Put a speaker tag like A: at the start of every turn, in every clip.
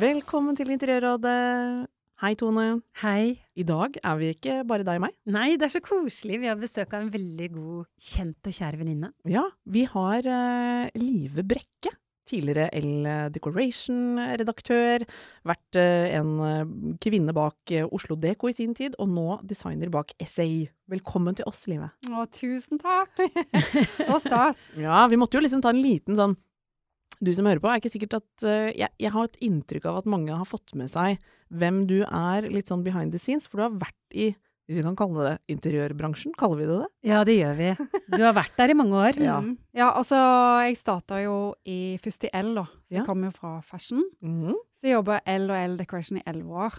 A: Velkommen til Interiørrådet. Hei, Tone.
B: Hei.
A: I dag er vi ikke bare deg og meg.
B: Nei, det er så koselig. Vi har besøk av en veldig god, kjent og kjær venninne.
A: Ja, vi har eh, Live Brekke. Tidligere L Decoration-redaktør. Vært eh, en eh, kvinne bak eh, Oslo Deko i sin tid, og nå designer bak SAI. Velkommen til oss, Live.
C: Å, tusen takk! Så stas.
A: Ja, vi måtte jo liksom ta en liten sånn Du som hører på, er ikke sikkert at eh, jeg, jeg har et inntrykk av at mange har fått med seg hvem du er, litt sånn behind the scenes, for du har vært i, hvis vi kan kalle det interiørbransjen, kaller vi det det?
B: Ja, det gjør vi. Du har vært der i mange år.
A: Ja.
C: Mm. ja, altså, jeg starta jo i, først i L, da. Så
A: Ja.
C: jeg kom jo fra fashion.
A: Mhm.
C: Så jeg jobba L og L Decoration i elleve år.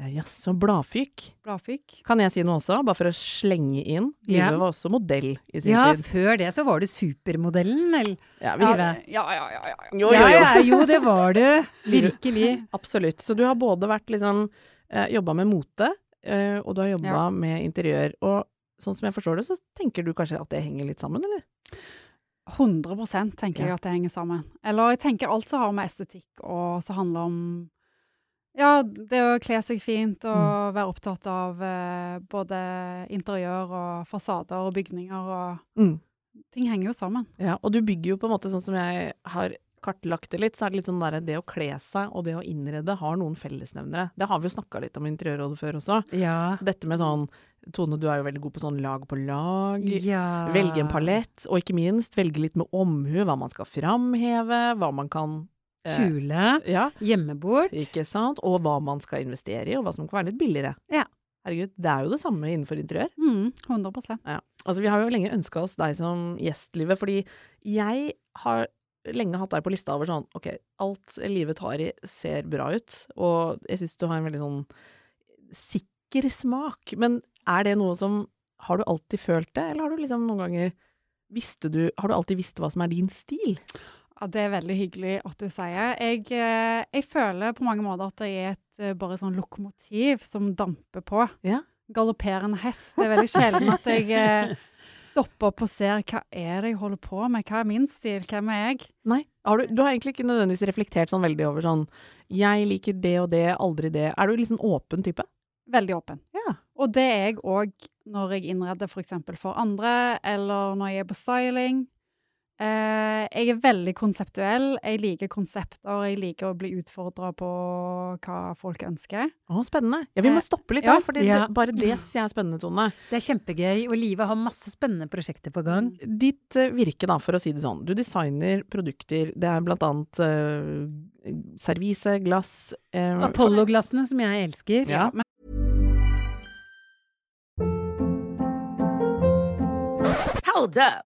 A: Eh, Jaså, bladfyk.
C: Bladfyk.
A: Kan jeg si noe også, bare for å slenge inn? Live
B: Ja.
A: var også modell i sin
B: Ja,
A: tid.
B: før det så var du supermodellen, eller?
A: Ja, vi-
C: Ja, ja,
B: Live.
C: ja, ja, ja, ja.
A: Jo, jo, jo.
B: Ja, ja, jo, det var du. Virkelig.
A: Absolutt. Så du har både vært liksom eh, jobba med mote, eh, og du har jobba
C: Ja.
A: med interiør. Og sånn som jeg forstår det, så tenker du kanskje at det henger litt sammen, eller?
C: 100 tenker jeg at det henger sammen. Eller jeg tenker alt som har med estetikk og som handler om ja, det å kle seg fint og
A: Mm.
C: være opptatt av eh, både interiør og fasader og bygninger og
A: Mm.
C: Ting henger jo sammen.
A: Ja, og du bygger jo på en måte sånn som jeg har kartlagt det litt, så er det litt sånn der det å kle seg og det å innrede har noen fellesnevnere. Det har vi jo snakka litt om i Interiørrådet før også.
B: Ja.
A: Dette med sånn Tone, du er jo veldig god på sånn lag på lag.
B: ja.
A: Velge
B: Eh.
A: en palett, og ikke minst velge litt med omhu hva man skal framheve, hva man kan eh,
B: Kjole.
A: Ja,
B: Hjemmebord.
A: ikke sant? Og hva man skal investere i, og hva som kan være litt billigere.
B: Ja.
A: Herregud, det er jo det samme innenfor interiør.
C: Mm, 100
A: Altså, vi har jo lenge ønska oss deg som gjestlivet, fordi jeg har lenge hatt deg på lista over sånn ok, alt livet tar i ser bra ut, og jeg syns du har en veldig sånn sikker smak, men er det noe som Har du alltid følt det, eller har du liksom noen ganger Visste du Har du alltid visst hva som er din stil?
C: Ja, Det er veldig hyggelig at du sier. Jeg, eh, jeg føler på mange måter at jeg er et eh, bare sånn lokomotiv som damper på.
A: Ja.
C: Galopperende hest. Det er veldig sjelden at jeg eh, stopper opp og ser hva er det jeg holder på med, hva er min stil, hvem er jeg?
A: Nei. Har du, du har egentlig ikke nødvendigvis reflektert sånn veldig over sånn Jeg liker det og det, aldri det. Er du litt sånn åpen type?
C: Veldig åpen.
A: Ja.
C: Og det er jeg òg når jeg innreder f.eks. eksempel for andre, eller når jeg er på styling. Eh, jeg er veldig konseptuell. Jeg liker konsepter, jeg liker å bli utfordra på hva folk ønsker.
A: Å, spennende. Ja, vi må
C: Eh,
A: stoppe litt
C: ja.
A: der, for det,
B: Ja.
A: det, bare det syns jeg er spennende, Tone.
B: Det er kjempegøy, og livet har masse spennende prosjekter på gang.
A: Ditt eh, virke, da, for å si det sånn. Du designer produkter. Det er blant annet eh, servise, glass
B: Mm.
A: eh,
B: Apollo-glassene, som jeg elsker.
A: Ja.
C: men
D: Hold up.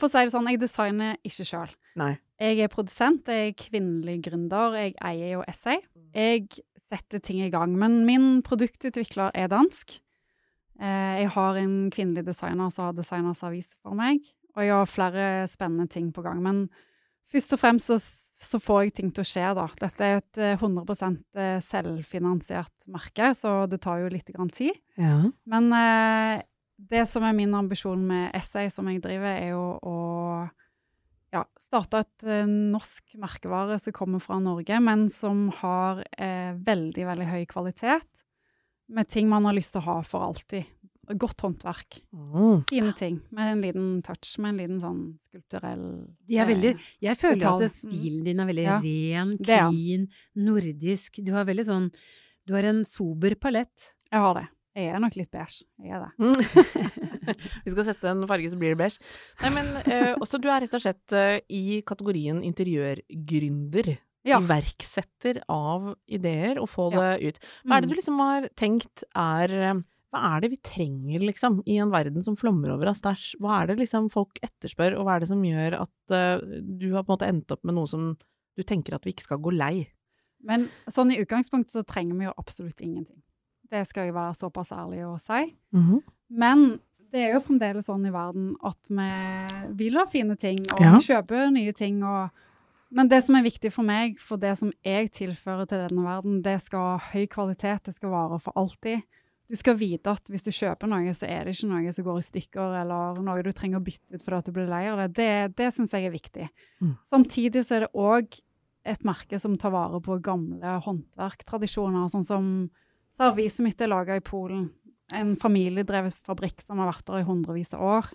C: For å si det sånn, jeg designer ikke sjøl.
A: Nei.
C: Jeg er produsent, jeg er kvinnelig gründer, jeg eier jo Essay. Jeg setter ting i gang, men min produktutvikler er dansk. Eh, Jeg har en kvinnelig designer som har designers avis for meg, og jeg har flere spennende ting på gang. Men først og fremst så, så får jeg ting til å skje, da. Dette er et eh, 100 eh, selvfinansiert merke, så det tar jo litt grann tid.
A: Ja.
C: Men eh, det som er min ambisjon med Essay, som jeg driver, er jo å ja, starte et eh, norsk merkevare som kommer fra Norge, men som har eh, veldig, veldig høy kvalitet, med ting man har lyst til å ha for alltid. Godt håndverk.
A: Mm.
C: Fine ting, med en liten touch, med en liten sånn skulpturell
B: De er veldig, jeg føler
C: detalj.
B: at det- stilen din er veldig
C: Eh, Ja.
B: ren,
C: Det er den.
B: clean, nordisk. Du har veldig sånn Du har en sober palett.
C: Jeg har det. Jeg er nok litt beige. Jeg er det.
A: Mm. Vi skal sette en farge, så blir det beige. Nei, men eh, også du er rett og slett eh, i kategorien interiørgründer.
C: Ja.
A: Iverksetter av ideer og få det ut. Hva er det
C: Mm.
A: du liksom har tenkt er eh, Hva er det vi trenger, liksom, i en verden som flommer over av stæsj? Hva er det liksom folk etterspør, og hva er det som gjør at eh, du har på en måte endt opp med noe som du tenker at vi ikke skal gå lei?
C: Men sånn i utgangspunktet så trenger vi jo absolutt ingenting. Det skal jeg være såpass ærlig å si.
B: Mhm.
C: Men det er jo fremdeles sånn i verden at vi vil ha fine ting, og
A: Ja.
C: vi kjøper nye ting. Og, men det som er viktig for meg, for det som jeg tilfører til denne verden, det skal ha høy kvalitet, det skal vare for alltid. Du skal vite at hvis du kjøper noe, så er det ikke noe som går i stykker, eller noe du trenger å bytte ut fordi at du blir lei av det. Det, det syns jeg er viktig.
A: Mm.
C: Samtidig så er det òg et merke som tar vare på gamle håndverktradisjoner, sånn som serviset mitt er laga i Polen en familiedrevet fabrikk som har vært der i hundrevis av år.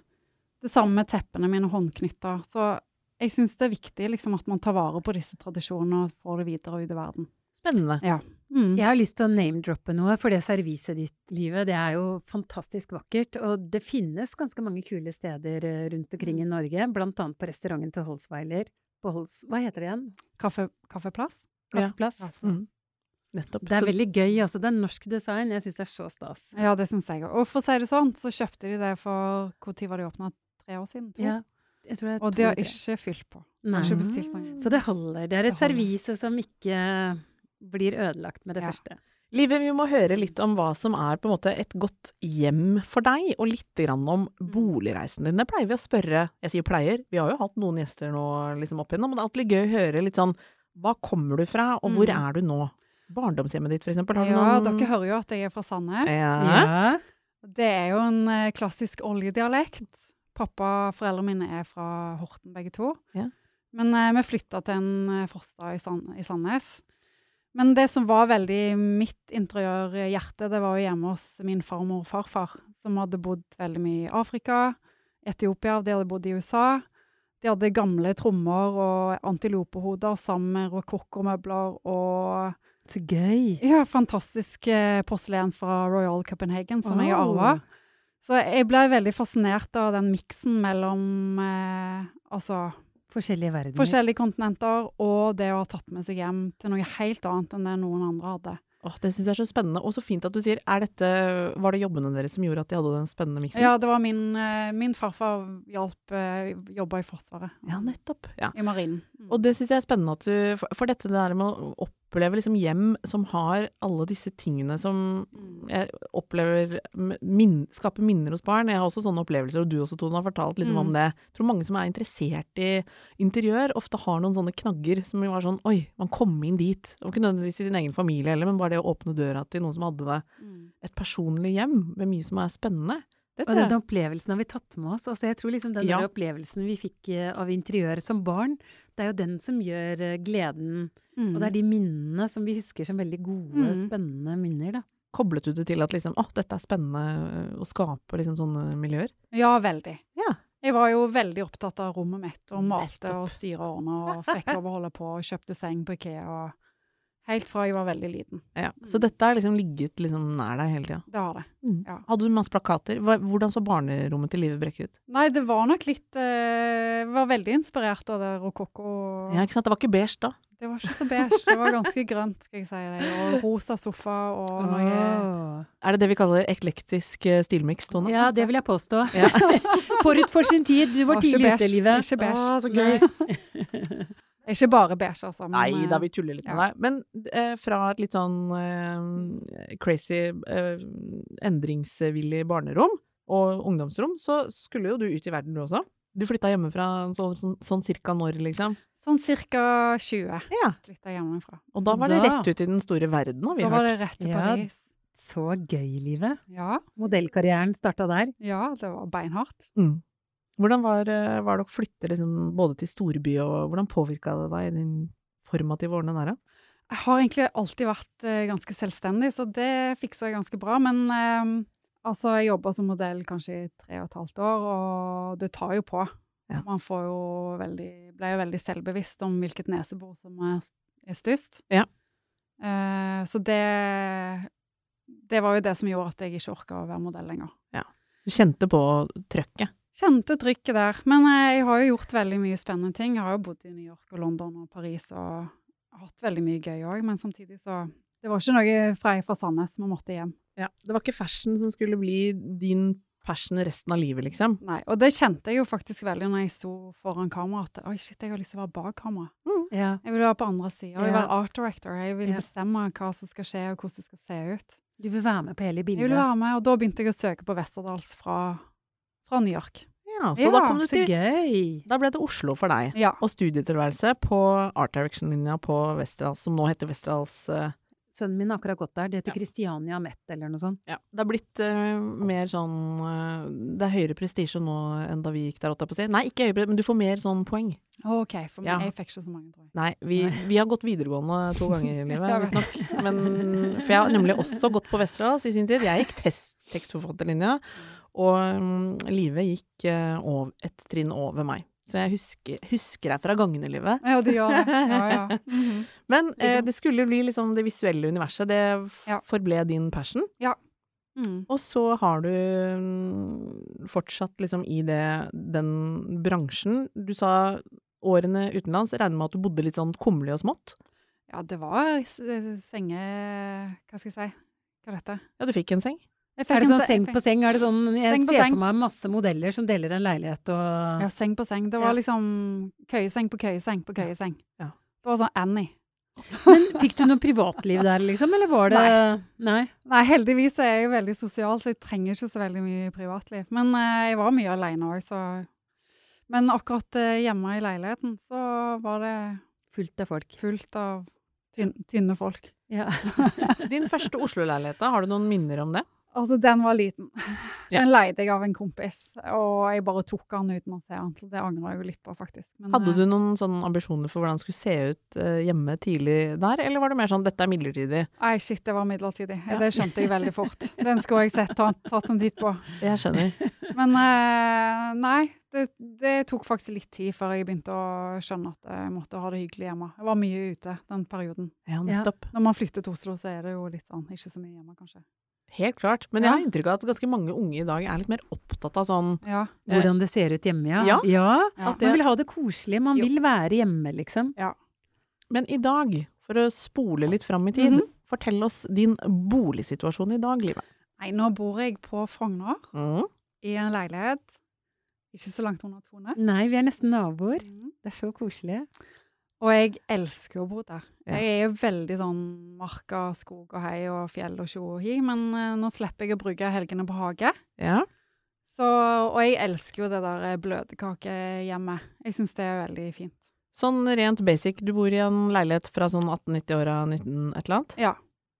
C: Det samme med teppene mine håndknytta. Så jeg syns det er viktig liksom, at man tar vare på disse tradisjonene og får det videre ut i verden.
A: Spennende.
C: Mm.
B: Jeg har lyst til å name-droppe noe, for det serviset ditt, livet, det er jo fantastisk vakkert. Og det finnes ganske mange kule steder eh, rundt omkring i
C: Mm.
B: Norge, blant annet på restauranten til Holsweiler. På Hols... Hva heter det igjen?
C: Kaffe, kaffeplass?
A: Ja.
B: Kaffeplass?
C: Ja.
A: Mm. Nettopp.
B: Det
A: Så-
B: er veldig gøy, altså. Det er norsk design. Jeg syns det er så stas.
C: Ja, det syns jeg òg. Og for å si det sånn, så kjøpte de det for Når var det åpna? Tre år siden? To?
B: Ja. Jeg tror det er
C: og de har
B: to-
C: ikke fylt på.
B: Nei.
C: Ikke bestilt noe.
B: Så det holder. Det er
C: Det
B: et
C: holder.
B: servise som ikke blir ødelagt med det
C: Ja.
B: første.
A: Live, vi må høre litt om hva som er på en måte et godt hjem for deg, og litt grann om
C: Mm.
A: boligreisen din. Det pleier vi å spørre Jeg sier pleier, vi har jo hatt noen gjester nå liksom opp igjennom, men det er alltid gøy å høre litt sånn Hva kommer du fra, og hvor
C: Mm.
A: er du nå? Barndomshjemmet ditt, for eksempel. Har du
C: Ja,
A: noen
C: dere hører jo at jeg er fra Sandnes.
A: Ja.
B: Ja.
C: Det er jo en eh, klassisk oljedialekt. Pappa og foreldrene mine er fra Horten, begge to.
A: Ja.
C: Men eh, vi flytta til en eh, forstad i, Sand i Sandnes. Men det som var veldig mitt interiørhjerte, det var jo hjemme hos min farmor og farfar, som hadde bodd veldig mye i Afrika, Etiopia, de hadde bodd i USA. De hadde gamle trommer og antilopehoder sammen med rokokkmøbler og
B: Så gøy.
C: ja, fantastisk eh, porselen fra Royal Copenhagen som jeg
B: Oh.
C: arva. Så jeg ble veldig fascinert av den miksen mellom eh, altså,
B: Forskjellige verdener.
C: forskjellige kontinenter og det å ha tatt med seg hjem til noe helt annet enn det noen andre hadde.
A: Åh, det syns jeg er så spennende, og så fint at du sier er dette, Var det jobbene deres som gjorde at de hadde den spennende miksen?
C: Ja, det var min, eh, min farfar hjalp eh, jobba i Forsvaret,
A: ja, nettopp. Ja.
C: i marinen. Mm.
A: Og det syns jeg er spennende at du for- For dette der med å oppleve liksom hjem som har alle disse tingene som
C: Mm.
A: jeg opplever m- min, Skaper minner hos barn. Jeg har også sånne opplevelser, og du også, Tone, har fortalt liksom om
C: Mm.
A: det. Jeg tror mange som er interessert i interiør, ofte har noen sånne knagger som jo er sånn Oi, man kom inn dit. Det var ikke nødvendigvis i sin egen familie heller, men bare det å åpne døra til noen som hadde det.
C: Mm.
A: Et personlig hjem med mye som er spennende. Det
B: Og
A: tror
B: den
A: jeg.
B: opplevelsen har vi tatt med oss. Altså, jeg tror liksom den
A: Ja.
B: der opplevelsen vi fikk eh, av interiør som barn, det er jo den som gjør eh, gleden.
C: Mm.
B: Og det er de minnene som vi husker som veldig gode,
C: Mm.
B: spennende minner, da.
A: Koblet du det til at liksom Å, dette er spennende å skape liksom sånne miljøer?
C: Ja, veldig.
A: Ja.
C: Jeg var jo veldig opptatt av rommet mitt, og malte
A: Nettopp.
C: og styra og ordna, og fikk lov å holde på, og kjøpte seng på IKEA, og helt fra jeg var veldig liten.
A: Ja. Så dette har liksom ligget liksom nær deg hele tida.
C: Det har det.
A: Mm.
C: Ja.
A: Hadde du masse plakater? Hva- Hvordan så barnerommet til Live Brekke ut?
C: Nei, det var nok litt eh, Jeg var veldig inspirert av det rokokko.
A: Ja, ikke sant? Det var ikke beige da.
C: Det var ikke så beige, det var ganske grønt, skal jeg si deg, og rosa sofa og
A: Ah.
C: noe
B: Åh.
A: Er det det vi kaller eklektisk eh, stilmiks, Tone?
B: Ja, det vil jeg påstå.
A: Ja.
B: Forut for sin tid. Du var
C: Var ikke
B: tidlig ute
C: beige,
B: i livet.
C: ikke beige.
B: Åh, så
C: Nei.
B: gøy.
C: Ikke bare beige, altså. men,
A: Nei da,
C: eh,
A: vi tuller litt med
C: Ja.
A: deg. Men eh, fra et litt sånn eh, crazy, eh, endringsvillig barnerom og ungdomsrom, så skulle jo du ut i verden du også. Du flytta hjemmefra sånn, sånn, sånn cirka når, liksom?
C: Sånn ca. 20
A: Ja.
C: flytta hjemmefra.
A: Og da var det
B: Da.
A: rett ut i den store verden, har vi
C: Da
A: hørt.
C: var det rett til
B: Ja.
C: Paris.
B: Så gøy, livet.
C: Ja,
B: Modellkarrieren starta der.
C: ja det var beinhardt.
A: Mm. Hvordan var, eh, var det å flytte liksom, både til storby, og hvordan påvirka det deg i din formative årene der? da?
C: Jeg har egentlig alltid vært eh, ganske selvstendig, så det fiksa jeg ganske bra. Men eh, altså, jeg jobba som modell kanskje i tre og et halvt år, og det tar jo på.
A: Ja.
C: Man får jo veldig, ble jo veldig selvbevisst om hvilket nesebor som er, er størst.
A: Ja.
C: Eh, så det Det var jo det som gjorde at jeg ikke orka å være modell lenger.
A: Du kjente på trøkket.
C: Kjente trykket der. Men eh, jeg har jo gjort veldig mye spennende ting. Jeg har jo bodd i New York og London og Paris og hatt veldig mye gøy òg, men samtidig så Det var ikke noe fra jeg fra Sandnes, vi måtte hjem.
A: Ja, det var ikke fashion som skulle bli din passion resten av livet, liksom.
C: Nei, og det kjente jeg jo faktisk veldig når jeg sto foran kamera, at oi, shit, jeg har lyst til å være bak kamera.
B: Ja.
C: Jeg vil være på andre sida, jeg vil
B: Ja.
C: være art director, jeg vil
B: Ja.
C: bestemme hva som skal skje, og hvordan det skal se ut.
B: Du vil være med på hele
C: Jeg vil
B: bildet.
C: være med, og da begynte jeg å søke på Westerdals fra, fra New York.
A: Ja, så
C: Ja,
A: da kom du til
B: Så gøy!
A: Da ble det Oslo for deg.
C: Ja.
A: Og studietilværelse på Art Direction-linja på Westerdals, som nå heter Westerdals eh,
B: Sønnen min har akkurat gått der. Det heter Kristiania Met eller noe sånt.
A: ja. Det har blitt eh, mer sånn eh, Det er høyere prestisje nå enn da vi gikk der, holdt jeg på å si. Nei, ikke høyere, men du får mer sånn poeng.
C: OK, for meg,
A: Ja.
C: jeg fikk ikke så mange, tror jeg.
A: Nei, vi, vi har gått videregående to ganger i livet,
C: Ja, vel.
A: visstnok. Men- For jeg har nemlig også gått på Westerdals i sin tid. Jeg gikk test, tekstforfatterlinja, og um, Live gikk eh, ov- et trinn over meg. Så jeg husker, husker jeg fra gangene, Live.
C: Ja, du gjør det. Ja, ja. Mhm.
A: Men eh, det skulle jo bli liksom det visuelle universet. Det f-
C: Ja.
A: forble din passion.
C: Mm.
A: Og så har du mm, fortsatt liksom i det, den bransjen. Du sa årene utenlands. Jeg regner med at du bodde litt sånn kummerlig og smått.
C: Ja, det var s- senge... Hva skal jeg si? Hva er dette?
A: Ja, du fikk en seng.
C: Jeg
B: Er det sånn
C: se-
B: seng
C: jeg
B: på seng? Er det sånn, jeg
C: Seng på
B: ser
C: seng.
B: for meg masse modeller som deler en leilighet og
C: Ja, seng på seng.
B: Ja.
C: Det var liksom køyeseng på køyeseng på køyeseng.
A: Ja.
C: Det var sånn Annie.
B: Men fikk du noe privatliv der, liksom? Eller var det Nei.
C: Nei, heldigvis er jeg jo veldig sosial, så jeg trenger ikke så veldig mye privatliv. Men eh, jeg var mye alene òg, så Men akkurat eh, hjemme i leiligheten så var det
B: Fullt av folk.
C: fullt av tynne, tynne folk.
B: Ja.
A: Din første Oslo-leilighet, da, har du noen minner om det?
C: Altså, den var liten.
A: Ja.
C: Den leide jeg av en kompis, og jeg bare tok den uten å se den, så det angrer jeg jo litt på, faktisk. Men,
A: Hadde
C: eh,
A: du noen sånne ambisjoner for hvordan det skulle se ut eh, hjemme tidlig der, eller var det mer sånn 'dette er midlertidig'?
C: Nei, shit, det var midlertidig.
A: Ja.
C: Det skjønte jeg veldig fort. Den skulle jeg sett, ta, tatt en titt på.
A: Jeg skjønner.
C: Men eh, nei, det, det tok faktisk litt tid før jeg begynte å skjønne at jeg måtte ha det hyggelig hjemme. Jeg var mye ute den perioden.
A: Ja, nettopp.
C: Når man flytter til Oslo, så er det jo litt sånn, ikke så mye hjemme, kanskje.
A: Helt klart. Men jeg har
C: Ja.
A: inntrykk av at ganske mange unge i dag er litt mer opptatt av sånn
C: Ja,
B: Hvordan det ser ut hjemme, ja.
A: Ja.
C: Ja.
A: at
B: Man
A: det,
B: vil ha det koselig. Man
C: Jo.
B: vil være hjemme, liksom.
A: Men i dag, for å spole litt fram i tid,
C: Mhm.
A: fortell oss din boligsituasjon i dag, Live.
C: nei, nå bor jeg på Frogner,
A: Mm.
C: i en leilighet, ikke så langt under Tone.
B: Nei, vi er nesten naboer.
A: Mm.
C: Mhm.
B: Det er så koselig.
C: Og jeg elsker å bo der.
A: Ja.
C: Jeg er jo veldig sånn marka, skog og hei og fjell og tjo og hi, men eh, nå slipper jeg å bruke helgene på hage.
A: Ja.
C: Så, og jeg elsker jo det der bløtkakehjemmet. Jeg syns det er veldig fint.
A: Sånn rent basic, du bor i en leilighet fra sånn 1890-åra, 19 et eller annet?
C: Ja.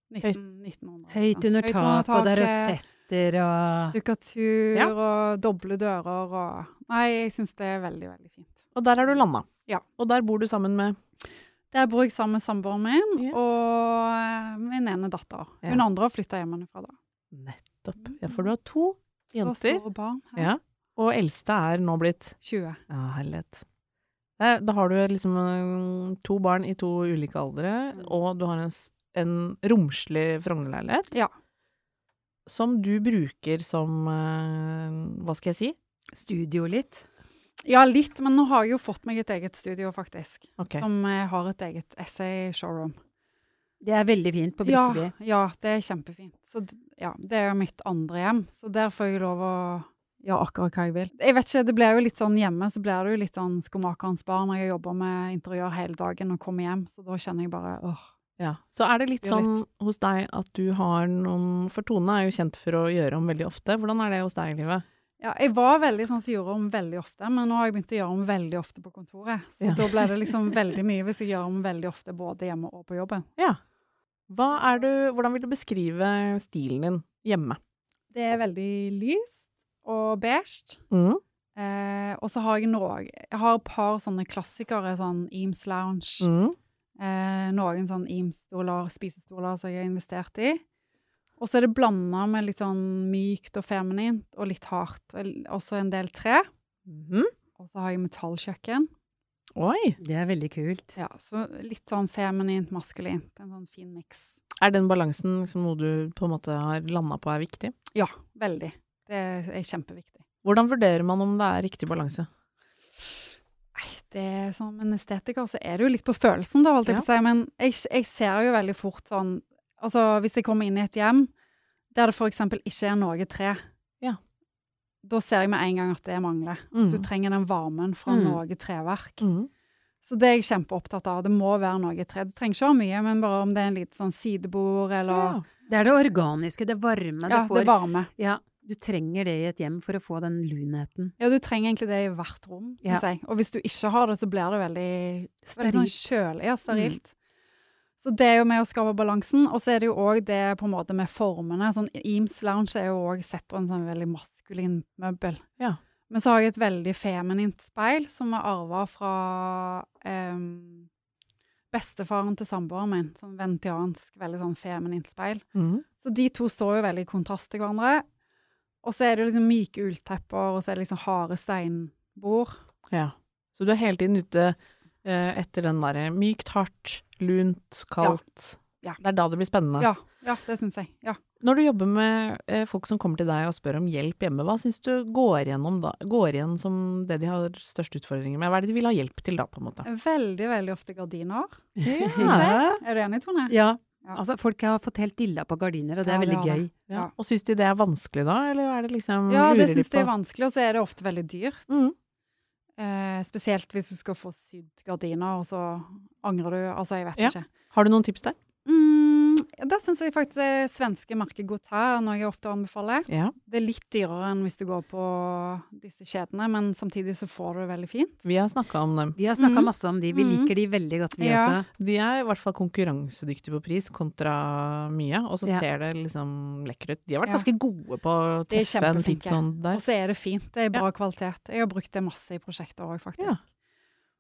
C: 19, 1900.
B: Høyt under
C: Høyt
B: taket, og der og setter og
C: Stukkatur
A: Ja.
C: og doble dører og Nei, jeg syns det er veldig, veldig fint.
A: Og der er du landa?
C: Ja.
A: Og der bor du sammen med
C: Der bor jeg sammen med samboeren min
A: Ja.
C: og eh, min ene datter.
A: Ja.
C: Hun andre har flytta hjemmefra da.
A: Nettopp. Ja, for du har to
C: Mm. Så
A: jenter.
C: store barn. her.
A: Ja. Og eldste er nå blitt
C: 20.
A: Ja, herlighet. Der, da har du liksom eh, to barn i to ulike aldre,
C: Mm.
A: og du har en, s- en romslig Frogner-leilighet.
C: Ja.
A: Som du bruker som eh, Hva skal jeg si?
B: studio litt.
C: Ja, litt, men nå har jeg jo fått meg et eget studio, faktisk.
A: Ok.
C: Som eh, har et eget essay-showroom.
B: Det er veldig fint på Briskeby.
C: Ja, ja, det er kjempefint. Så, d- ja, det er jo mitt andre hjem, så der får jeg lov å gjøre akkurat hva jeg vil. Jeg vet ikke, det blir jo litt sånn hjemme, så blir det jo litt sånn skomakerens barn når jeg jobber med interiør hele dagen og kommer hjem, så da kjenner jeg bare åh.
A: Ja. Så er det litt
C: Jo,
A: sånn
C: litt.
A: hos deg at du har noen For Tone er jo kjent for å gjøre om veldig ofte. Hvordan er det hos deg i livet?
C: Ja, jeg var veldig sånn som gjorde om veldig ofte, men nå har jeg begynt å gjøre om veldig ofte på kontoret. Så
A: Ja.
C: da blir det liksom veldig mye hvis jeg gjør om veldig ofte både hjemme og på jobben.
A: Hva er du, hvordan vil du beskrive stilen din hjemme?
C: Det er veldig lyst og beige.
A: Mm.
C: Eh, og så har jeg noe Jeg har et par sånne klassikere, sånn Eames Lounge.
A: Mm.
C: Eh, noen sånn IMS-stoler, spisestoler som jeg har investert i. Og så er det blanda med litt sånn mykt og feminint og litt hardt. Og Også en del tre.
A: Mhm.
C: Og så har jeg metallkjøkken.
A: Oi!
B: Det er veldig kult.
C: Ja, så litt sånn feminint, maskulint. En sånn fin miks.
A: Er den balansen liksom noe du på en måte har landa på er viktig?
C: Ja, veldig. Det er kjempeviktig.
A: Hvordan vurderer man om det er riktig balanse?
C: Nei, det er som en estetiker, så er det jo litt på følelsen, da, holdt jeg
A: Ja.
C: på å si. Men jeg, jeg ser jo veldig fort sånn Altså, hvis jeg kommer inn i et hjem der det for eksempel ikke er noe tre,
A: Ja.
C: da ser jeg med en gang at det mangler.
A: Mm.
C: Du trenger den varmen fra
B: Mm.
C: noe treverk.
A: Mm.
C: Så det er jeg kjempeopptatt av. Det må være noe tre. Det trenger ikke være mye, men bare om det er en liten sånn sidebord eller
A: Ja.
B: Det er det organiske, det varme
C: Ja,
B: du
C: det
B: får.
C: varme.
B: Ja, du trenger det i et hjem for å få den lunheten.
C: Ja, du trenger egentlig det i hvert rom,
B: Ja.
C: syns jeg. Og hvis du ikke har det, så blir det veldig, veldig sånn
B: Sterilt.
C: kjølig og sterilt. Så det er jo med å skape balansen. Og så er det jo òg det på en måte med formene. Sånn Eames Lounge er jo òg sett på en sånn veldig maskulin møbel.
A: Ja.
C: Men så har jeg et veldig feminint speil som er arva fra em, bestefaren til samboeren min. Sånn ventiansk, veldig sånn feminint speil.
A: Mm.
C: Så de to står jo veldig i kontrast til hverandre. Og så er det liksom myke ulltepper, og så er det liksom harde steinbord.
A: Ja. Så du er hele tiden ute eh, etter den derre mykt, hardt, lunt, kaldt.
C: Ja.
A: Det er da det blir spennende.
C: Ja, ja det syns jeg. Ja.
A: Når du jobber med eh, folk som kommer til deg og spør om hjelp hjemme, hva syns du går, gjennom da, går igjen som det de har størst utfordringer med? Hva er det de vil ha hjelp til da, på en måte?
C: Veldig, veldig ofte gardiner.
A: Ja.
C: Er du enig, Tone?
B: Ja.
C: Ja.
B: Altså, folk har fått helt dilla på gardiner, og det
C: Ja,
B: er
C: de
B: veldig
C: har
B: gøy.
C: det. Ja.
A: Og syns de det er vanskelig da, eller er det liksom
C: Ja, det
A: lurer de
C: syns jeg er
A: på?
C: vanskelig, og så er det ofte veldig dyrt.
A: Mm.
C: Eh, spesielt hvis du skal få sydd gardiner, og så angrer du. Altså, jeg vet
A: Ja.
C: ikke.
A: Har du noen tips der?
C: Mm, det syns jeg faktisk er svenske merket Gauthier, noe jeg ofte anbefaler.
A: Ja.
C: Det er litt dyrere enn hvis du går på disse kjedene, men samtidig så får du det veldig fint.
A: Vi har snakka om dem.
B: Vi har snakka
C: Mhm.
B: masse om de, vi
C: Mhm.
B: liker de veldig godt, vi
C: Ja.
B: også.
A: De er i hvert fall konkurransedyktige på pris kontra mye, og så
B: Ja.
A: ser det liksom lekkert ut. De har vært
C: Ja.
A: ganske gode på å
C: De er
A: treffe en
C: kjempeflinke.
A: tidsånd der.
C: Og så er det fint. Det er bra kvalitet. Jeg har brukt det masse i prosjekter òg, faktisk.
A: Ja.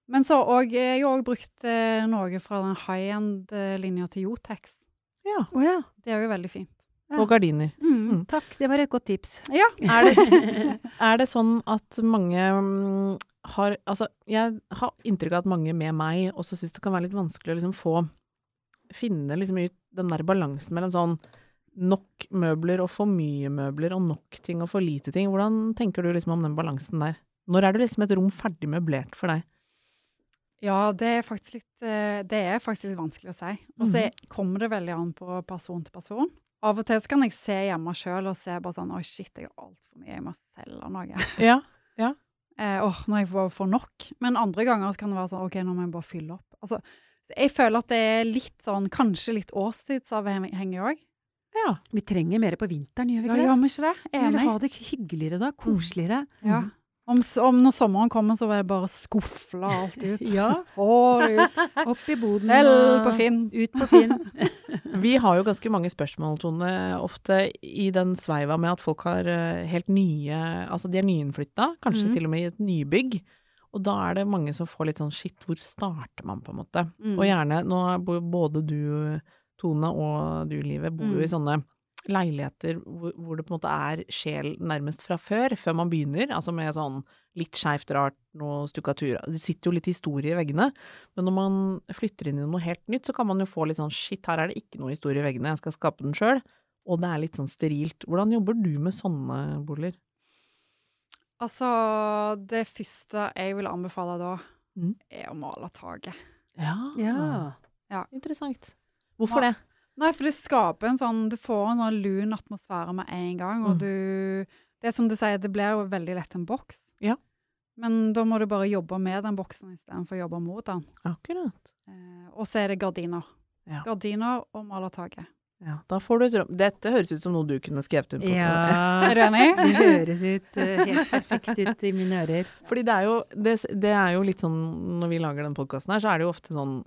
C: Men så og, jeg har òg brukt eh, noe fra den high-end-linja til Jotex.
A: Ja.
B: Å ja.
C: Det er jo veldig fint.
B: Ja.
A: Og gardiner.
C: Mm.
A: Mm.
B: Takk, det var et godt tips.
C: Ja.
A: Er det, er det sånn at mange mm, har Altså, jeg har inntrykk av at mange med meg også syns det kan være litt vanskelig å liksom få Finne liksom ut den der balansen mellom sånn nok møbler og for mye møbler, og nok ting og for lite ting. Hvordan tenker du liksom om den balansen der? Når er du liksom et rom ferdig møblert for deg?
C: ja, det er faktisk litt, eh, det er faktisk litt vanskelig å si. Og så kommer det veldig an på person til person. Av og til så kan jeg se hjemme sjøl og se bare sånn Oi, shit, jeg har altfor mye. Jeg må selge noe.
A: Ja.
C: Eh, åh, når jeg bare får nok. Men andre ganger så kan det være sånn, ok, nå må jeg bare fylle opp. Altså, så jeg føler at det er litt sånn, kanskje litt årstidsavhengig òg.
A: ja.
B: Vi trenger mer på vinteren, gjør vi
C: Ja,
B: ikke det?
C: gjør vi ikke det?
B: Vi vil
C: Enig.
B: ha det hyggeligere da, koseligere.
C: Ja. Om, s- om når sommeren kommer, så vil jeg bare skufle alt Mm. ut.
B: Ja,
C: Få det ut.
B: opp i boden
C: Selg på Finn.
B: ut på Finn.
A: Vi har jo ganske mange spørsmål, Tone, ofte i den sveiva med at folk har eh, helt nye Altså de er nyinnflytta, kanskje
C: Mhm.
A: til og med i et nybygg. Og da er det mange som får litt sånn shit, hvor starter man, på en måte?
C: Mm.
A: Og gjerne, nå bor jo både du, Tone, og du, Livet, bor jo
C: Mm.
A: i sånne leiligheter hvor, hvor det på en måte er sjel nærmest fra før, før man begynner. Altså med sånn litt skeivt, rart, noe stukkatur. Det sitter jo litt historie i veggene. Men når man flytter inn i noe helt nytt, så kan man jo få litt sånn shit, her er det ikke noe historie i veggene, jeg skal skape den sjøl. Og det er litt sånn sterilt. Hvordan jobber du med sånne boliger?
C: Altså, det første jeg vil anbefale da,
A: Mm.
C: er å male taket.
A: Ja.
C: Ah,
B: Ja.
A: Interessant. Hvorfor det?
C: Nei, for det skaper en sånn Du får en sånn lun atmosfære med en gang,
A: Mm.
C: og du Det er som du sier, det blir jo veldig lett en boks.
A: Ja.
C: Men da må du bare jobbe med den boksen istedenfor å jobbe mot den.
A: Akkurat.
C: Eh, og så er det gardiner.
A: Ja.
C: Gardiner og malertaket.
A: Ja, da får du et rom. Dette høres ut som noe du kunne skrevet under på. Tone.
B: Ja.
C: Er du enig?
B: Det høres ut eh, helt perfekt ut i mine ører.
A: Fordi det er jo, det, det er jo litt sånn, når vi lager den podkasten her, så er det jo ofte sånn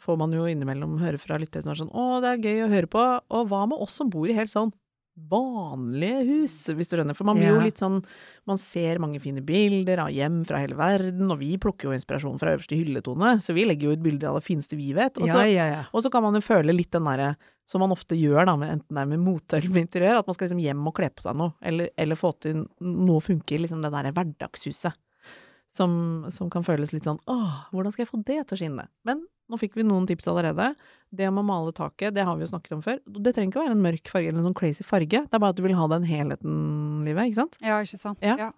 A: Får man jo innimellom høre fra lyttere som er sånn 'Å, det er gøy å høre på', og hva med oss som bor i helt sånn vanlige hus, hvis du skjønner? For man blir jo
B: Ja.
A: litt sånn Man ser mange fine bilder av hjem fra hele verden, og vi plukker jo inspirasjon fra øverste hylletone, så vi legger jo ut bilder av det fineste vi vet. Og så
B: Ja, ja, ja.
A: og så kan man jo føle litt den derre som man ofte gjør, da, med, enten det er med mote eller med interiør, at man skal liksom hjem og kle på seg noe, eller, eller få til noe funker, liksom det derre hverdagshuset. Som, som kan føles litt sånn åh, hvordan skal jeg få det til å skinne? Men nå fikk vi noen tips allerede. Det med å male taket, det har vi jo snakket om før. Det trenger ikke være en mørk farge eller en sånn crazy farge, det er bare at du vil ha den helheten, livet, ikke sant?
C: Ja, ikke sant?
A: Ja.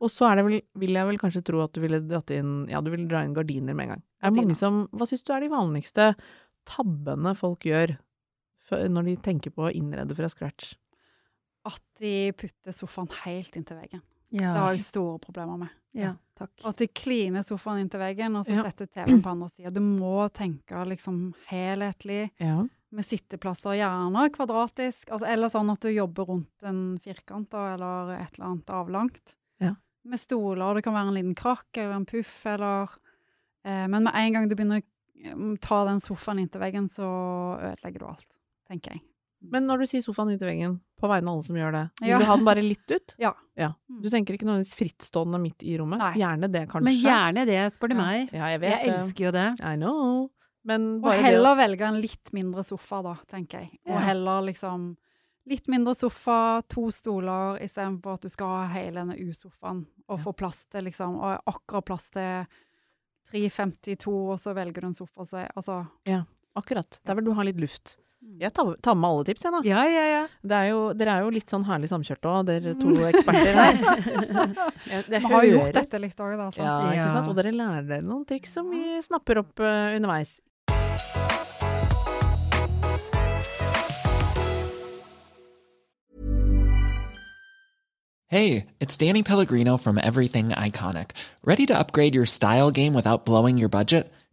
A: Og så er det vel, vil jeg vel kanskje tro at du ville dratt inn Ja, du ville dra inn gardiner med en gang. Er det
C: Gardiner.
A: mange som Hva syns du er de vanligste tabbene folk gjør f- når de tenker på å innrede fra scratch?
C: at de putter sofaen helt inntil veggen.
B: Ja.
C: Det har jeg store problemer med.
B: ja, takk.
C: At de kliner sofaen inntil veggen, og så
A: Ja.
C: setter TV-en på andre sida. Du må tenke liksom helhetlig,
A: Ja.
C: med sitteplasser, gjerne kvadratisk, altså, eller sånn at du jobber rundt en firkant da, eller et eller annet avlangt.
A: Ja.
C: Med stoler, det kan være en liten krakk eller en puff, eller eh, Men med en gang du begynner å eh, ta den sofaen inntil veggen, så ødelegger du alt, tenker jeg.
A: Men når du sier sofaen inntil veggen, på vegne av alle som gjør det, vil
C: Ja.
A: du ha den bare litt ut?
C: Ja. Mm.
A: Du tenker ikke nødvendigvis frittstående midt i rommet?
C: Nei.
A: Gjerne det, kanskje?
B: Men gjerne det, spør du
C: Ja.
B: meg. eh,
A: Ja, jeg vet
B: Jeg elsker jo det.
A: det. I know. Men
C: Og
A: bare det å
C: heller velge en litt mindre sofa, da, tenker jeg. Og
B: Ja.
C: heller liksom litt mindre sofa, to stoler, istedenfor at du skal ha hele denne U-sofaen og få plass til liksom Og akkurat plass til 3,52, og så velger du en sofa, så er- altså
A: Akkurat. Der vil du ha litt luft.
C: Mm.
A: Jeg tar, tar med alle tips, jeg, da.
B: Ja, ja, ja.
A: Det er jo, dere er jo litt sånn herlig samkjørte òg, dere to eksperter her. Jeg, jeg
C: Vi har jo
A: Mm. hører-
C: gjort dette litt òg, da. sant?
A: Ja, ikke
B: Ja.
A: sant? Og dere lærer dere noen triks som vi snapper opp eh, underveis.
E: Hey, it's Danny Pellegrino from Everything Iconic. Ready to upgrade your style game without blowing your budget?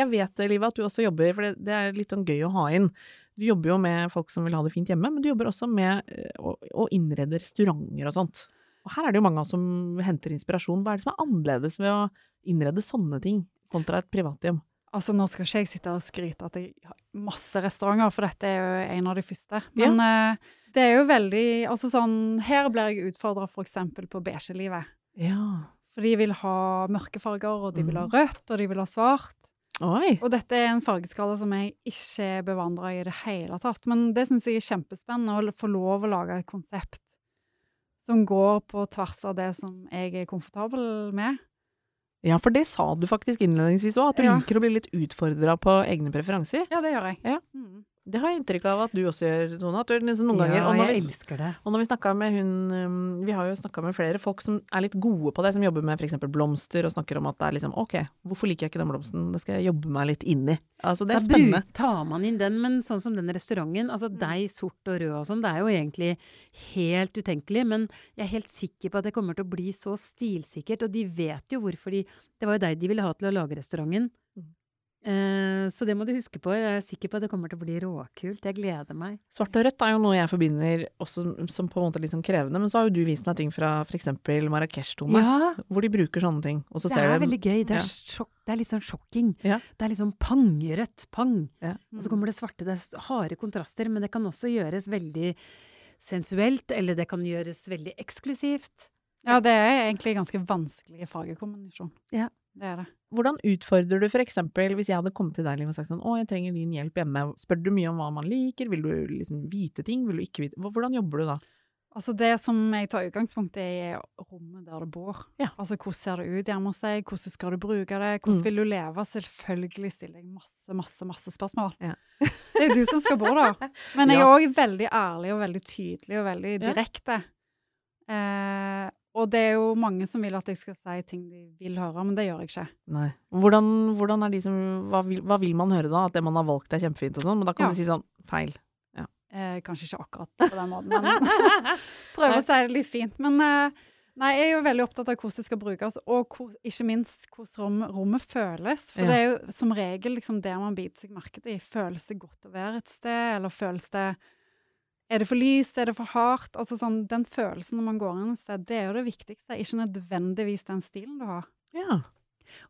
A: Jeg vet, det, Liva, at du også jobber, for det, det er litt sånn gøy å ha inn. Du jobber jo med folk som vil ha det fint hjemme, men du jobber også med eh, å, å innrede restauranter og sånt. Og her er det jo mange av oss som henter inspirasjon. Hva er det som er annerledes ved å innrede sånne ting kontra et privathjem?
C: Altså, nå skal ikke jeg sitte og skryte at jeg har masse restauranter, for dette er jo en av de første. Men eh, det er jo veldig Altså sånn Her blir jeg utfordra f.eks. på beige-livet.
A: Ja.
C: For de vil ha mørke farger, og de vil ha
A: Mhm.
C: rødt, og de vil ha svart.
A: Oi.
C: Og dette er en fargeskala som jeg ikke er bevandra i det hele tatt. Men det syns jeg er kjempespennende, å få lov å lage et konsept som går på tvers av det som jeg er komfortabel med.
A: Ja, for det sa du faktisk innledningsvis òg, at du
C: Ja.
A: liker å bli litt utfordra på egne preferanser.
C: Ja, det gjør jeg.
A: Ja.
C: Mhm.
A: Det har jeg inntrykk av at du også gjør, Tone. At du liksom noen ganger
B: Ja,
A: og når
B: jeg
A: vi-
B: elsker det.
A: Og når vi snakka med hun um, Vi har jo snakka med flere folk som er litt gode på det, som jobber med f.eks. blomster, og snakker om at det er liksom Ok, hvorfor liker jeg ikke den blomsten? Det skal jeg jobbe meg litt inn i. Altså, det
B: Da
A: er spennende.
B: bruk- tar man inn den, men sånn som den restauranten, altså deg sort og rød og sånn, det er jo egentlig helt utenkelig, men jeg er helt sikker på at det kommer til å bli så stilsikkert, og de vet jo hvorfor de Det var jo deg de ville ha til å lage restauranten. Eh, så det må du huske på. Jeg er sikker på at det kommer til å bli råkult. Jeg gleder meg.
A: Svart og rødt er jo noe jeg forbinder også som på en måte litt sånn krevende, men så har jo du vist meg ting fra f.eks. Marrakech-tone,
B: Ja,
A: hvor de bruker sånne ting, og så
B: det
A: ser
B: er
A: du
B: veldig gøy. Det
A: ja.
B: er, sjokk, det er litt sånn sjokking.
A: Ja.
B: Det er litt sånn pangrødt. Pang.
A: Ja.
C: Mm.
B: Og så kommer det svarte. Det er s- harde kontraster, men det kan også gjøres veldig sensuelt, eller det kan gjøres veldig eksklusivt.
C: Ja, det er egentlig ganske vanskelig fargekombinasjon.
B: Ja.
C: Det er det.
A: Hvordan utfordrer du f.eks. hvis jeg hadde kommet til deg Liv, og sagt sånn Å, jeg trenger din hjelp hjemme. Spør du mye om hva man liker? Vil du liksom vite ting? Vil du ikke vite Hva- Hvordan jobber du da?
C: Altså det som jeg tar utgangspunkt i, er rommet der du bor.
A: Ja.
C: Altså hvordan ser det ut hjemme hos deg, hvordan skal du bruke det, hvordan
A: Mm.
C: vil du leve? Selvfølgelig stiller jeg masse, masse, masse spørsmål.
A: Ja.
C: det er jo du som skal bo der. Men jeg
A: Ja.
C: er òg veldig ærlig og veldig tydelig og veldig
A: Ja.
C: direkte. Eh, og det er jo mange som vil at jeg skal si ting de vil høre, men det gjør jeg ikke.
A: Nei. Hvordan, hvordan er de som hva vil, hva vil man høre da? At det man har valgt er kjempefint og sånn, men da kan
C: Ja.
A: du si sånn feil.
C: Eh, kanskje ikke akkurat på den måten, men prøve å si det litt fint. Men eh, nei, jeg er jo veldig opptatt av hvordan det skal brukes, og hvor, ikke minst hvordan rom, rommet føles. For
A: Ja.
C: det er jo som regel liksom det man biter seg merke i. Føles det godt å være et sted, eller føles det Er det for lyst, er det for hardt? Altså sånn, Den følelsen når man går inn et sted, det er jo det viktigste. Ikke nødvendigvis den stilen du har.
A: Ja.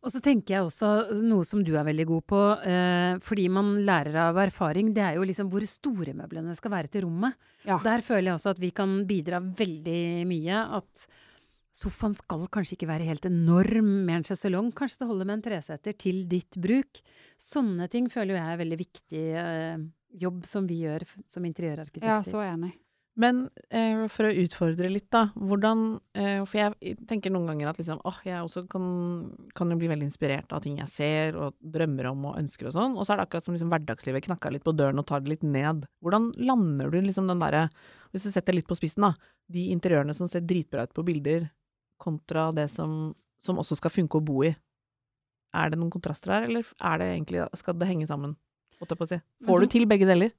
B: Og så tenker jeg også eh, noe som du er veldig god på, eh, fordi man lærer av erfaring, det er jo liksom hvor store møblene skal være til rommet.
C: Ja.
B: Der føler jeg også at vi kan bidra veldig mye. At sofaen skal kanskje ikke være helt enorm med en sjeselong, kanskje det holder med en treseter til ditt bruk. Sånne ting føler jo jeg er veldig viktig eh, jobb som vi gjør f- som interiørarkitekter.
C: Ja, så enig.
A: Men eh, for å utfordre litt, da. Hvordan eh, For jeg tenker noen ganger at liksom, åh, jeg også kan, kan jo bli veldig inspirert av ting jeg ser og drømmer om og ønsker og sånn. Og så er det akkurat som liksom, hverdagslivet knakka litt på døren og tar det litt ned. Hvordan lander du liksom den derre Hvis du setter litt på spissen, da. De interiørene som ser dritbra ut på bilder, kontra det som, som også skal funke å bo i. Er det noen kontraster her, eller er det egentlig, skal det henge sammen? Holdt jeg på å si.
C: Men
A: Får
C: som-
A: du til begge deler?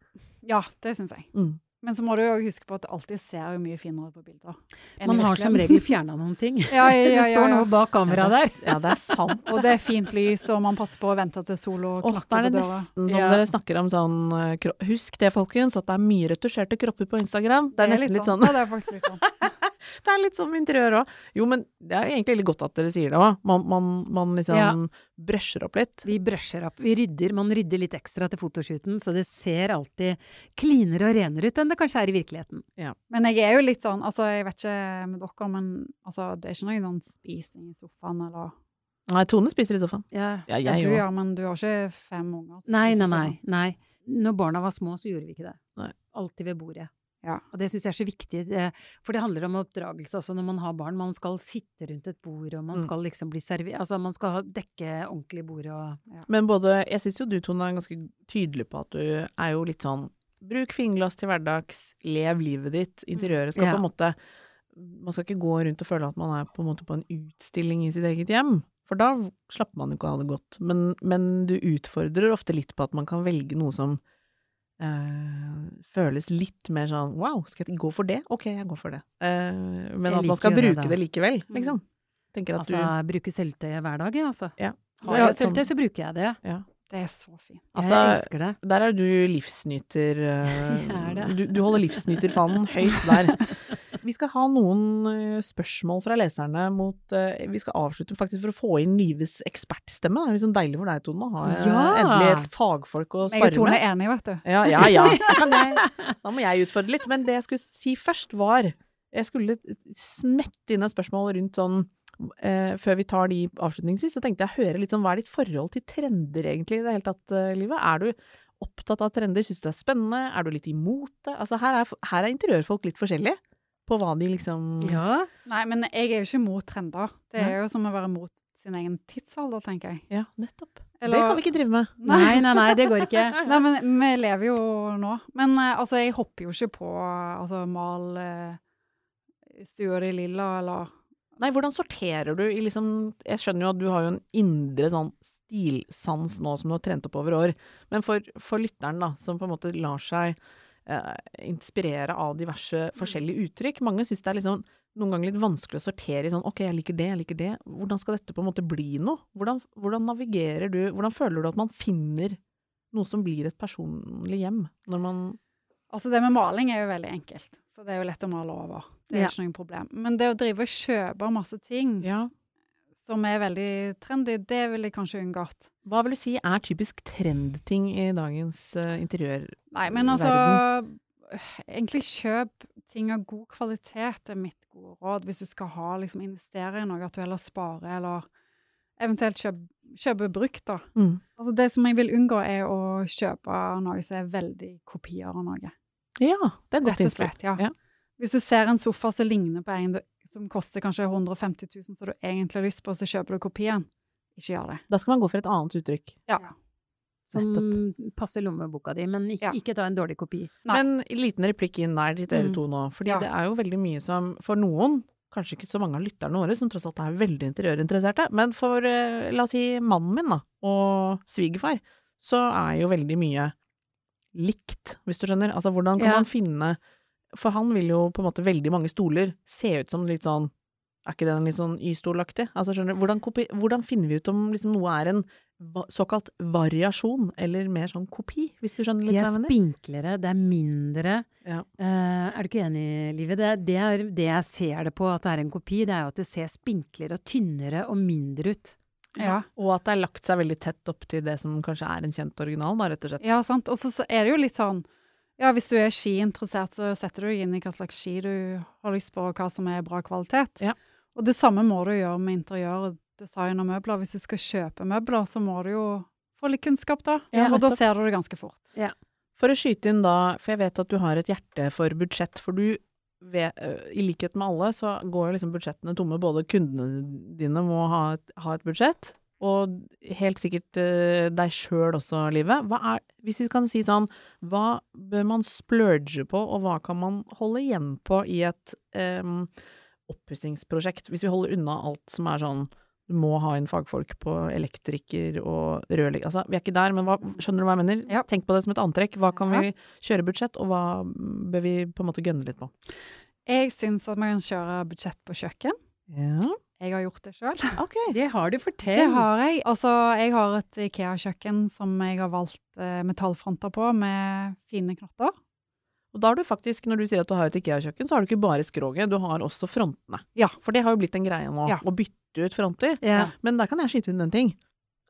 C: Ja, det syns jeg.
A: Mm.
C: Men så må du jo også huske på at det alltid ser jo mye finere ut på bilder. enn i
B: Man har som regel
C: virkeligheten.
B: fjerna noen ting.
C: ja, ja, ja,
B: Det
C: ja,
B: står
C: ja.
B: noe bak kameraet der.
A: Ja, det er sant.
C: Og det er fint lys, og man passer på å vente til sola
A: Åh,
C: knakker
A: da er
C: på
A: det
C: døra.
A: nesten som
B: Ja.
A: dere snakker om sånn eh, kro Husk det, folkens, at det er mye retusjerte kropper på Instagram. Det er, nesten litt sånn,
C: Ja, det er faktisk litt sånn.
A: det er litt sånn interiør òg. Jo, men det er egentlig litt godt at dere sier det òg. Man, man, man liksom
B: Ja.
A: brusher opp litt.
B: Vi brusher opp, vi rydder, man rydder litt ekstra til fotoshooten, så det ser alltid cleanere og renere ut enn det kanskje er i virkeligheten.
C: Men jeg er jo litt sånn, altså jeg vet ikke med dere, men altså, det er ikke noe sånn spising i sofaen eller
A: Nei, Tone spiser i sofaen. Ja,
C: ja,
A: jeg
C: Du
A: òg.
C: gjør, men du har ikke fem unger. som
B: Nei,
C: spiser sånn.
B: nei,
C: i
B: nei,
C: sofaen.
B: nei. Når barna var små, så gjorde vi ikke det.
A: Nei.
B: Alltid ved bordet.
C: Ja.
B: Og det syns jeg er så viktig, det- for det handler om oppdragelse også når man har barn. Man skal sitte rundt et bord, og man
A: Mm.
B: skal liksom bli servert Altså, man skal ha- dekke ordentlig bordet og
A: Men både Jeg syns jo du, Tone, er ganske tydelig på at du er jo litt sånn Bruk fingerglass til hverdags, lev livet ditt. Interiøret skal
B: Mm. Ja.
A: på en måte Man skal ikke gå rundt og føle at man er på en måte på en utstilling i sitt eget hjem. For da slapper man jo ikke av det godt. Men, men du utfordrer ofte litt på at man kan velge noe som eh, føles litt mer sånn wow, skal jeg gå for det? Ok, jeg går for det. Eh, men
B: Jeg
A: at man
B: liker
A: skal
B: jo det,
A: bruke
B: da. Mm.
A: det, likevel, liksom. Tenker at
B: Altså, jeg bruker sølvtøy hver dag, jeg, altså.
A: Ja.
B: Har
C: Ja,
B: jeg sølvtøy,
A: sånn-
B: så bruker jeg det.
C: Det er så fint.
A: du
B: Jeg
A: Altså,
B: elsker det.
A: Der er du livsnyter eh,
B: Jeg er det.
A: du, du holder livsnyterfanen høyt der. Vi skal ha noen eh, spørsmål fra leserne mot eh, Vi skal avslutte faktisk for å få inn livets ekspertstemme. Det er litt sånn deilig for deg, Tone, å ha eh,
B: Ja.
A: endelig et fagfolk å
C: Jeg og
A: spare
C: Tone
A: med.
C: er enige, vet du.
A: Ja, ja, ja. Da, kan jeg, da må jeg utfordre litt. Men det jeg skulle si først, var Jeg skulle smette inn et spørsmål rundt sånn eh, før vi tar de avslutningsvis, så tenkte jeg å høre litt sånn, hva er ditt forhold til trender egentlig i det hele tatt, eh, Livet? Er du opptatt av trender? Syns du det er spennende? Er du litt imot det? Altså, her er, her er interiørfolk litt forskjellige på hva de liksom
B: Ja.
C: Nei, men jeg er jo ikke mot trender. Det er jo som å være mot sin egen tidsalder, tenker jeg.
A: Ja, nettopp.
C: Eller-
A: Det kan vi ikke drive med.
B: Nei, nei, nei, det går ikke.
C: Nei, men vi lever jo nå. Men eh, altså, jeg hopper jo ikke på altså, mal eh, stua di lilla, eller
A: Nei, hvordan sorterer du i liksom Jeg skjønner jo at du har jo en indre sånn stilsans nå som du har trent opp over år. Men for, for lytteren, da, som på en måte lar seg eh, inspirere av diverse forskjellige uttrykk Mange syns det er liksom noen ganger litt vanskelig å sortere i sånn OK, jeg liker det, jeg liker det. Hvordan skal dette på en måte bli noe? Hvordan, hvordan navigerer du Hvordan føler du at man finner noe som blir et personlig hjem, når man
C: Altså, det med maling er jo veldig enkelt. For det er jo lett å male over. Det er
B: Ja.
C: ikke noe problem. Men det å drive og kjøpe masse ting
A: Ja.
C: som er veldig trendy, det ville jeg kanskje unngått.
A: Hva vil du si er typisk trendting i dagens eh, interiør?
C: Nei, men altså Egentlig kjøp ting av god kvalitet, er mitt gode råd. Hvis du skal ha, liksom, investere i noe, at du heller sparer, eller eventuelt kjøp, kjøpe brukt, da.
A: Mm.
C: Altså, det som jeg vil unngå, er å kjøpe noe som er veldig kopier av noe.
A: Ja, det er godt
C: Rett og
A: innspill.
C: slett, ja. Hvis du ser en sofa som ligner på en du, som koster kanskje 150 000, som du egentlig har lyst på, så kjøper du kopien. Ikke gjør det.
A: Da skal man gå for et annet uttrykk.
C: Ja.
B: Som passer lommeboka di, men ikke,
C: Ja.
B: ikke ta en dårlig kopi.
C: Nei.
A: Men en liten replikk inn der til dere
C: Mm.
A: to nå. Fordi
C: Ja.
A: det er jo veldig mye som for noen, kanskje ikke så mange av lytterne våre, som tross alt er veldig interiørinteresserte, men for eh, la oss si mannen min da, og svigerfar, så er jo veldig mye likt, hvis du skjønner. Altså hvordan kan
B: Ja.
A: man finne For han vil jo på en måte veldig mange stoler se ut som litt sånn er ikke den litt sånn Y-stolaktig? Altså, skjønner du, hvordan, kopi, hvordan finner vi ut om liksom noe er en va såkalt variasjon, eller mer sånn kopi, hvis du skjønner
B: De
A: litt
B: er
A: hva jeg mener?
B: spinklere, det er mindre.
A: Ja.
B: Eh, er du ikke enig, Livet? Det, det er det jeg ser det på, at det er en kopi. Det er jo at det ser spinklere og tynnere og mindre ut.
C: Ja.
A: Og at det er lagt seg veldig tett opp til det som kanskje er en kjent original, da, rett og slett.
C: ja, sant. Og så så er det jo litt sånn Ja, hvis du er skiinteressert, så setter du deg inn i hva slags ski du har lyst på, og hva som er bra kvalitet.
A: Ja.
C: Og det samme må du gjøre med interiør og design og møbler. Hvis du skal kjøpe møbler, så må du jo få litt kunnskap, da.
A: Ja,
C: og da
A: nettopp.
C: ser du det ganske fort.
A: For å skyte inn da, for jeg vet at du har et hjerte for budsjett, for du vet, øh, i likhet med alle, så går jo liksom budsjettene tomme. Både kundene dine må ha et, ha et budsjett, og helt sikkert øh, deg sjøl også, Livet. Hva er, hvis vi kan si sånn, hva bør man splurge på, og hva kan man holde igjen på i et um, oppussingsprosjekt? Hvis vi holder unna alt som er sånn du må ha inn fagfolk på elektriker og rørlegger Altså, vi er ikke der, men hva, skjønner du hva jeg mener?
C: Ja.
A: Tenk på det som et antrekk. Hva kan vi kjøre budsjett, og hva bør vi på en måte gønne litt på?
C: Jeg syns at man kan kjøre budsjett på kjøkken.
A: Ja,
C: Jeg har gjort det sjøl.
A: ok.
B: Det har du
C: Det
B: fortalt.
C: har jeg. Altså, jeg har et Ikea-kjøkken som jeg har valgt eh, metallfronter på, med fine knotter.
A: Og da har du faktisk, når du sier at du har et IKEA-kjøkken, så har du ikke bare skroget, du har også frontene.
C: Ja.
A: For det har jo blitt en greie nå,
C: Ja.
A: å bytte ut fronter.
B: Ja.
A: Men der kan jeg skyte inn en ting.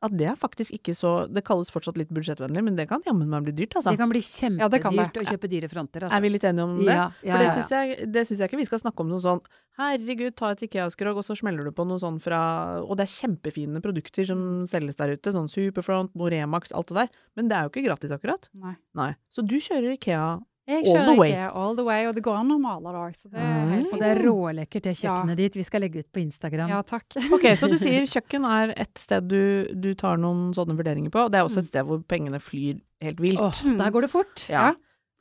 A: At det er faktisk ikke så Det kalles fortsatt litt budsjettvennlig, men det kan jammen meg bli dyrt, altså.
B: Det kan bli
C: Ja, det kan det.
B: kjempedyrt å kjøpe dyre fronter, altså.
A: Er vi litt enige om det?
B: Ja, ja,
A: For det
B: ja, ja.
A: syns jeg, det syns jeg ikke vi skal snakke om noe sånn Herregud, ta et Ikea-skrog, og så smeller du på noe sånn fra Og det er kjempefine produkter som selges der ute, sånn Superfront, Noremax, alt det der. Men det er jo ikke gratis, akkurat.
C: Nei.
A: Nei. Så du kjører Ikea.
C: Jeg
A: All the
C: kjører
A: way.
C: Ikea all the way, og det går an å male det òg, så det
A: Mm.
C: er helt
B: Og
C: fint.
B: det er rålekkert, det
C: Ja.
B: kjøkkenet ditt. Vi skal legge ut på Instagram.
C: Ja, takk.
A: Ok, så du sier kjøkken er et sted du, du tar noen sånne vurderinger på. Det er også et sted hvor pengene flyr helt vilt.
B: Åh, der går det fort.
A: Ja.
C: ja.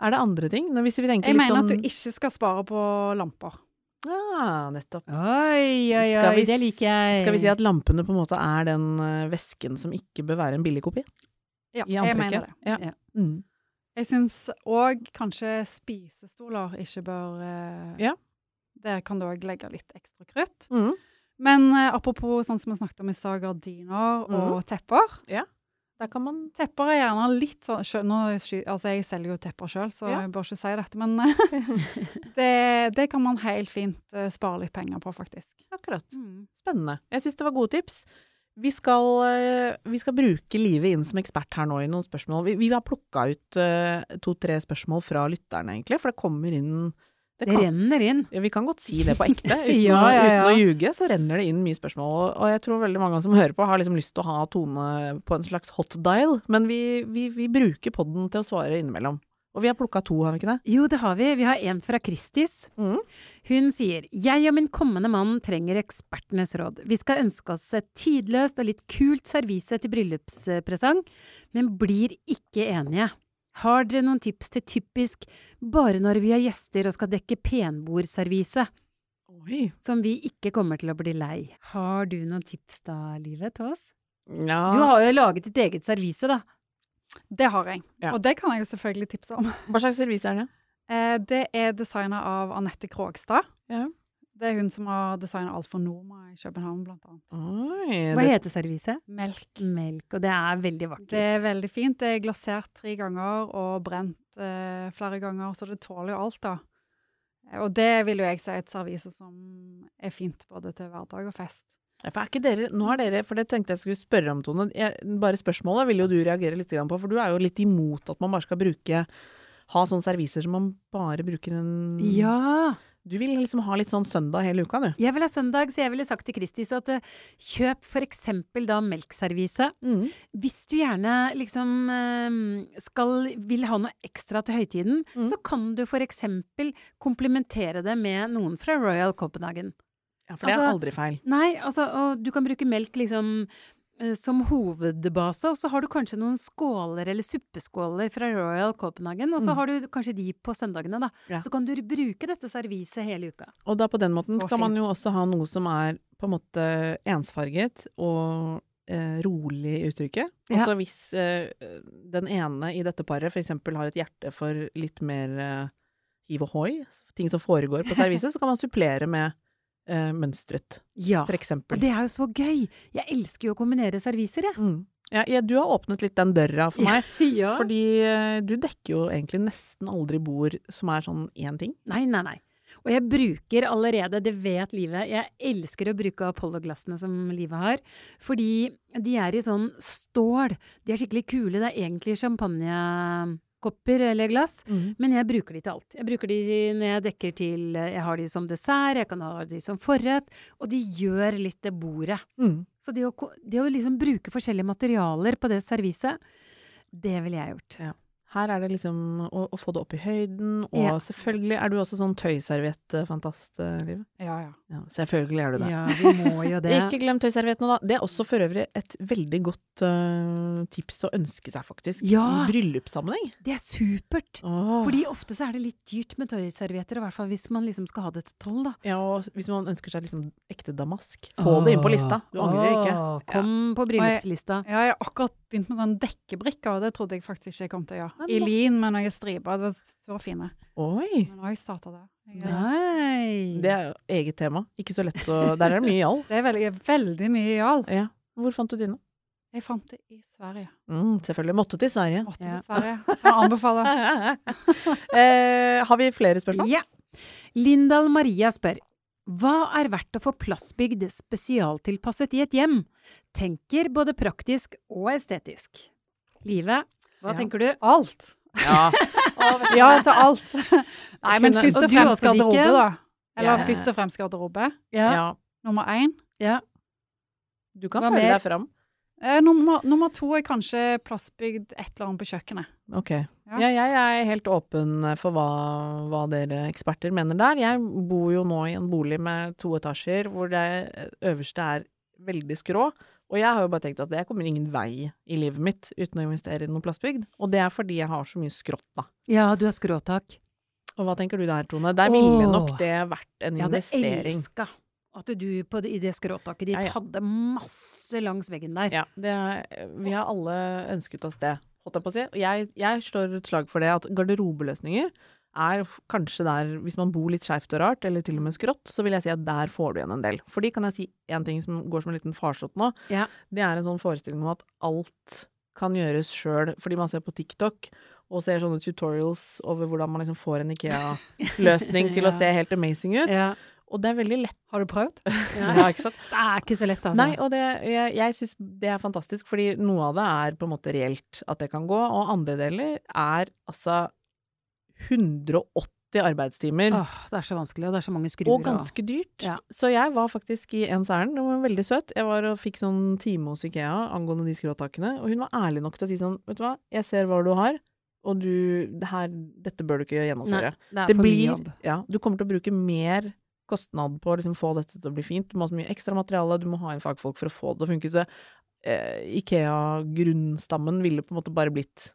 A: Er det andre ting? Nå, Hvis vi tenker
C: Jeg
A: litt
C: mener
A: sånn
C: at du ikke skal spare på lamper.
A: Ja, nettopp.
B: Oi, oi, oi,
A: Skal vi
B: det
A: s-
B: liker jeg.
A: Skal vi si at lampene på en måte er den eh, væsken som ikke bør være en billig kopi?
C: Ja,
A: I
C: jeg mener
A: antrekket?
C: det.
A: Ja.
B: Ja.
A: Mm.
C: Jeg syns òg kanskje spisestoler ikke bør eh,
A: Ja.
C: Der kan du òg legge litt ekstra krutt.
A: Mm.
C: Men eh, apropos sånn som vi snakket om i stad, gardiner
A: Mm.
C: og tepper.
A: Der kan man
C: Tepper er gjerne litt sånn sjø- nå, sky- Altså, jeg selger jo tepper sjøl, så
A: Ja.
C: jeg bør ikke si dette, men det, det kan man helt fint eh, spare litt penger på, faktisk.
A: Akkurat. Spennende. Jeg syns det var gode tips. Vi skal, eh, vi skal bruke livet inn som ekspert her nå i noen spørsmål. Vi, vi har plukka ut eh, to-tre spørsmål fra lytterne, egentlig, for det kommer inn det
B: Det
A: kan-
B: renner inn.
A: Ja, Vi kan godt si det på ekte. Uten,
B: Ja, ja,
A: å, uten å
B: ja.
A: ljuge så renner det inn mye spørsmål. og- Og jeg tror veldig mange som hører på har liksom lyst til å ha Tone på en slags hot dial, men vi, vi, vi bruker podden til å svare innimellom. Og vi har plukka to, har vi ikke det?
B: Jo, det har vi. Vi har en fra Kristis.
C: Mm.
A: Mhm.
B: Hun sier Jeg og min kommende mann trenger ekspertenes råd. Vi skal ønske oss et tidløst og litt kult servise til bryllupspresang, men blir ikke enige. Har dere noen tips til typisk bare når vi har gjester og skal dekke penbordservise,
A: Oi.
B: som vi ikke kommer til å bli lei? Har du noen tips da, Livet, til oss?
A: Ja.
B: Du har jo laget ditt eget servise, da.
C: Det har jeg,
A: Ja.
C: og det kan jeg jo selvfølgelig tipse om.
A: Hva slags servise er det?
C: Eh, det er designa av Anette Krogstad.
A: Ja.
C: Det er hun som har designa alt for Norma i København, blant annet.
A: Oi,
B: Hva heter serviset?
A: Mm,
C: Melk.
B: Melk, og det er veldig vakkert.
C: Det er veldig fint. Det er glasert tre ganger og brent eh, flere ganger, så det tåler jo alt, da. Eh, Og det vil jo jeg si er et servise som er fint både til hverdag og fest.
A: Ja, For er ikke dere, nå har dere, for det tenkte jeg skulle spørre om, Tone. Jeg, bare spørsmålet vil jo du reagere litt grann på, for du er jo litt imot at man bare skal bruke Ha sånne serviser som man bare bruker en
B: Ja!
A: Du vil liksom ha litt sånn søndag hele uka, du.
B: Jeg vil ha søndag, så jeg ville sagt til Kristis at eh, kjøp for eksempel da melkservise. Hvis du gjerne liksom eh, skal, vil ha noe ekstra til høytiden,
A: Mm.
B: så kan du for eksempel komplementere det med noen fra Royal Copenhagen.
A: Ja, for det er
B: Altså-
A: aldri feil.
B: Nei, altså, og du kan bruke melk liksom eh, som hovedbase, og så har du kanskje noen skåler eller suppeskåler fra Royal Copenhagen, og så
A: Mm.
B: har du kanskje de på søndagene, da.
A: Ja.
B: Så kan du bruke dette serviset hele uka.
A: Og da på den måten
C: Så
A: skal man jo
C: fint.
A: også ha noe som er på en måte ensfarget og eh, rolig i uttrykket. Og
B: Ja.
A: så hvis eh, den ene i dette paret f.eks. har et hjerte for litt mer eh, hiv og hoi, ting som foregår på serviset, så kan man supplere med eh, mønstret,
B: Ja.
A: f.eks.
B: Og det er jo så gøy! Jeg elsker jo å kombinere serviser, jeg.
A: Mm. Ja, ja, du har åpnet litt den døra for meg,
B: Ja.
A: fordi eh, du dekker jo egentlig nesten aldri bord som er sånn én ting.
B: Nei, nei, nei. Og jeg bruker allerede, det vet livet, jeg elsker å bruke Apollo-glassene som livet har, fordi de er i sånn stål. De er skikkelig kule, det er egentlig champagnekopper eller glass. Men jeg bruker de til alt. Jeg bruker de når jeg dekker til Jeg har de som dessert, jeg kan ha de som forrett, og de gjør litt det bordet.
A: Mm.
B: Så det å, ko- det å liksom bruke forskjellige materialer på det serviset, det ville jeg gjort.
A: Her er det liksom å, å få det opp i høyden, og
C: Ja.
A: selvfølgelig er du også sånn tøyserviettfantast, eh, Liv.
C: Ja, ja.
A: Ja, selvfølgelig er du det.
B: Ja, vi må jo det.
A: Ikke glem tøyserviettene, da. Det er også for øvrig et veldig godt eh, tips å ønske seg, faktisk.
B: Ja.
A: I bryllupssammenheng.
B: Det er supert!
A: Åh.
B: Fordi ofte så er det litt dyrt med tøyservietter, i hvert fall hvis man liksom skal ha det til tolv, da.
A: ja, og hvis man ønsker seg liksom ekte damask, få det inn på lista. Du angrer ikke.
B: Åh, Kom på bryllupslista.
C: Ja, jeg har akkurat begynt med sånn dekkebrikker, og det trodde jeg faktisk ikke jeg kom til
A: Ja,
C: å gjøre.
A: men
C: I
A: da-
C: lin med noen striper, det var så fine.
A: Oi!
C: Men nå har jeg starta det. Jeg, er-
B: Nei!
A: Det er jo eget tema. Ikke så lett å Der er det mye i all.
C: Det er veldig, veldig mye jal.
A: Ja. Hvor fant du dine?
C: Jeg fant det i Sverige.
A: Mm, selvfølgelig. Måtte til Sverige.
C: Måtte
B: Ja.
C: til Sverige. Kan anbefales.
A: eh, har vi flere spørsmål?
B: Ja. Lindahl Maria spør Hva er verdt å få plastbygd spesialtilpasset i et hjem? Tenker både praktisk og estetisk. Live, hva
A: Ja.
B: tenker du?
C: Alt.
A: Ja.
C: Ja, til alt. Nei, men
A: Kunne-
C: først
B: Og
C: og
B: du
C: fremst
B: også, Dikke?
C: garderobe, da. Eller
A: Ja.
C: først og fremst garderobe.
A: ja.
C: Nummer én.
A: Du kan
B: Hva
A: følge
B: mer?
A: deg fram.
C: Eh, nummer, nummer to er kanskje plastbygd et eller annet på kjøkkenet.
A: Ok. Ja,
C: Ja.
A: jeg er helt åpen for hva, hva dere eksperter mener der. Jeg bor jo nå i en bolig med to etasjer, hvor det øverste er veldig skrå. Og jeg har jo bare tenkt at jeg kommer ingen vei i livet mitt uten å investere i noe plastbygd. Og det er fordi jeg har så mye skrått, da.
B: Ja, du har skråtak.
A: Og hva tenker du der, Tone? Der ville
B: Åh.
A: nok det vært en
B: Jeg hadde
A: investering.
B: elska at du på det, i det skråtaket ditt
A: Ja, ja.
B: hadde masse langs veggen der.
A: Ja, det er, vi har alle ønsket oss det, holdt jeg på å si. Og jeg, jeg slår et slag for det at garderobeløsninger er f- kanskje der, hvis man bor litt skeivt og rart, eller til og med skrått, så vil jeg si at der får du igjen en del. Fordi kan jeg si én ting som går som en liten farsott nå,
B: Ja.
A: det er en sånn forestilling om at alt kan gjøres sjøl, fordi man ser på TikTok og ser sånne tutorials over hvordan man liksom får en Ikea-løsning til
B: Ja.
A: å se helt amazing ut.
B: Ja.
A: Og det er veldig lett.
C: Har du prøvd?
A: Ja, ikke sant?
B: Det er ikke så lett, altså.
A: Nei, og det, jeg, jeg syns det er fantastisk, fordi noe av det er på en måte reelt at det kan gå, og andre deler er altså 180 arbeidstimer.
B: Åh, det er så vanskelig, og det er så mange skruer.
A: Og ganske dyrt.
B: Ja.
A: Så jeg var faktisk i ens ærend, hun var veldig søt. Jeg var og fikk sånn time hos Ikea angående de skråtakene, og hun var ærlig nok til å si sånn, vet du hva, jeg ser hva du har, og du, det her, dette bør du ikke
B: Nei,
A: gjennomføre.
B: det er
A: Det
B: for mye
A: blir,
B: jobb.
A: ja, du kommer til å bruke mer kostnad på å liksom få dette til å bli fint. Du må ha så mye ekstra materiale, du må ha inn fagfolk for å få det til å funke. Så eh, Ikea-grunnstammen ville på en måte bare blitt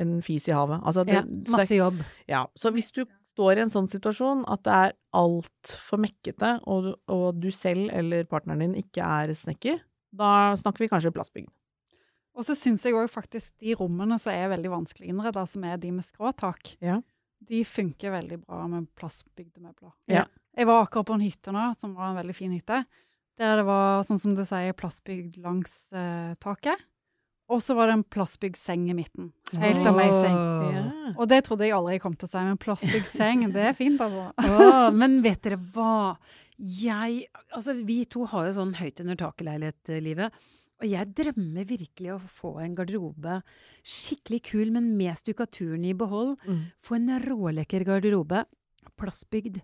A: en fis i havet. Altså, det,
B: Ja, masse jobb.
A: ja, så hvis du står i en sånn situasjon at det er altfor mekkete, og, du- og du selv eller partneren din ikke er snekker, da snakker vi kanskje plastbygd.
C: Og så syns jeg òg faktisk de rommene som er veldig vanskelig innreda, som er de med skråtak,
A: Ja.
C: de funker veldig bra med plastbygde møbler.
A: Ja.
C: Jeg var akkurat på en hytte nå, som var en veldig fin hytte, der det var, sånn som du sier, plastbygd langs eh, taket. Og så var det en plastbygd seng i midten. Helt amazing.
B: Åh.
C: Og det trodde jeg aldri jeg kom til å si, men plastbygd seng, det er fint, altså.
B: Åh, men vet dere hva? Jeg, altså vi to har jo sånn høyt under taket-leilighet-livet. Og jeg drømmer virkelig å få en garderobe skikkelig kul, men med stukkaturen i behold.
A: Mm.
B: Få en rålekker garderobe. Plassbygd.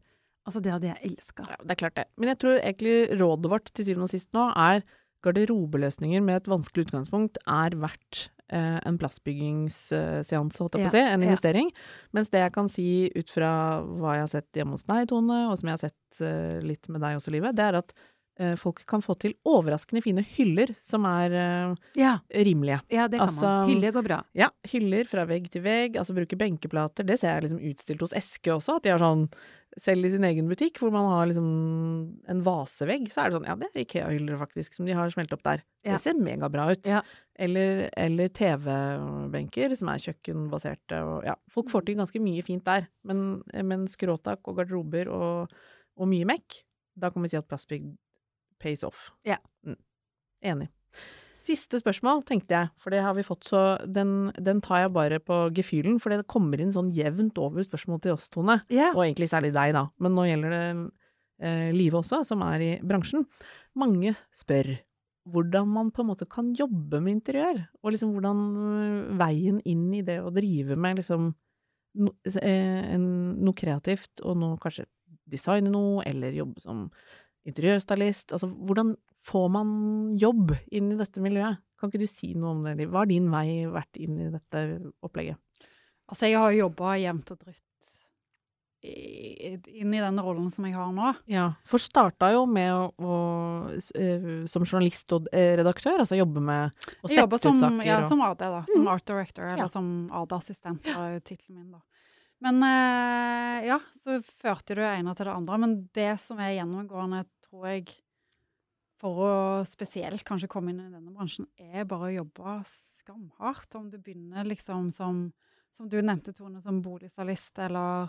B: Altså, det hadde jeg elska.
A: Ja, det er klart det. Men jeg tror egentlig rådet vårt til syvende og sist nå er garderobeløsninger med et vanskelig utgangspunkt er verdt eh, en plastbyggingsseanse, holdt jeg på å si,
B: Ja,
A: en
B: ja.
A: investering. Mens det jeg kan si ut fra hva jeg har sett hjemme hos deg, Tone, og som jeg har sett eh, litt med deg også, Live, det er at eh, folk kan få til overraskende fine hyller som er eh,
B: Ja,
A: rimelige.
B: ja, det kan
A: Altså-
B: man. Hylle går bra.
A: Ja, hyller fra vegg til vegg, altså bruke benkeplater. Det ser jeg liksom utstilt hos Eske også, at de har sånn selv i sin egen butikk, hvor man har liksom en vasevegg, så er det sånn, ja, det er Ikea-hyller faktisk, som de har smelt opp der.
B: Ja.
A: Det ser megabra ut.
B: Ja.
A: Eller, eller TV-benker, som er kjøkkenbaserte, og ja, folk får til ganske mye fint der, men, men skråtak og garderober og, og mye mekk, da kan vi si at plastbygg pays off.
B: Ja.
A: Mm. Enig. Siste spørsmål, tenkte jeg, for det har vi fått, så den, den tar jeg bare på gefühlen, for det kommer inn sånn jevnt over spørsmål til oss, Tone,
B: Ja.
A: og egentlig særlig deg, da, men nå gjelder det eh, Live også, som er i bransjen. Mange spør hvordan man på en måte kan jobbe med interiør, og liksom hvordan øh, veien inn i det å drive med liksom no, s- eh, en, noe kreativt, og nå kanskje designe noe, eller jobbe som interiørstylist, altså hvordan får man jobb inn i dette miljøet? Kan ikke du si noe om det? Liv? Hva har din vei vært inn i dette opplegget?
C: Altså, jeg har jo jobba jevnt og drutt i- inn i den rollen som jeg har nå.
A: Ja, for starta jo med å, å s- eh, som journalist og eh, redaktør, altså jobbe med å
C: Jeg
A: sette
C: jobber
A: ut
C: som,
A: saker
C: ja,
A: og Mm.
C: som AD, da. Som art director,
A: Ja.
C: eller som AD-assistent, var jo tittelen min, da. Men eh, ja, så førte det ene til det andre. Men det som er gjennomgående, tror jeg, for å spesielt kanskje komme inn i denne bransjen, er bare å jobbe skamhardt. Om du begynner liksom som, som du nevnte, Tone, som boligstylist, eller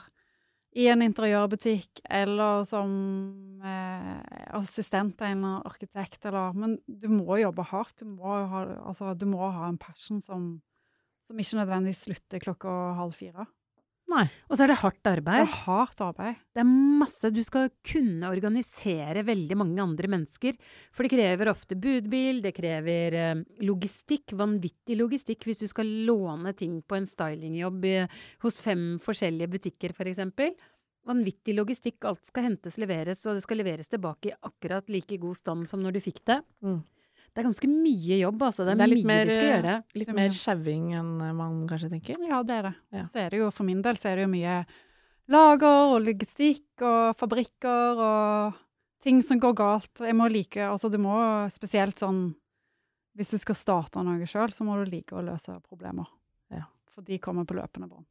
C: i en interiørbutikk, eller som eh, assistent til en arkitekt, eller Men du må jobbe hardt. Du må ha, altså, du må ha en passion som, som ikke nødvendigvis slutter klokka halv fire.
B: Og så er det hardt
C: Det
B: arbeid.
C: er hardt arbeid.
B: Det er masse Du skal kunne organisere veldig mange andre mennesker. For det krever ofte budbil, det krever eh, logistikk, vanvittig logistikk, hvis du skal låne ting på en stylingjobb i, hos fem forskjellige butikker, for eksempel. Vanvittig logistikk. Alt skal hentes, leveres, og det skal leveres tilbake i akkurat like god stand som når du fikk det.
A: Mm.
B: Det er ganske mye jobb, altså. Det er,
A: Det er litt
B: mye
A: mer,
B: vi skal
A: eh,
B: gjøre.
A: Litt mer sjauing enn man kanskje tenker.
C: Ja, det er det.
A: Ja.
C: Så er det jo, for min del, så er det jo mye lager og logistikk og fabrikker og ting som går galt. Jeg må like Altså, du må spesielt sånn Hvis du skal starte noe sjøl, så må du like å løse problemer.
A: Ja.
C: For de kommer på løpende bånd.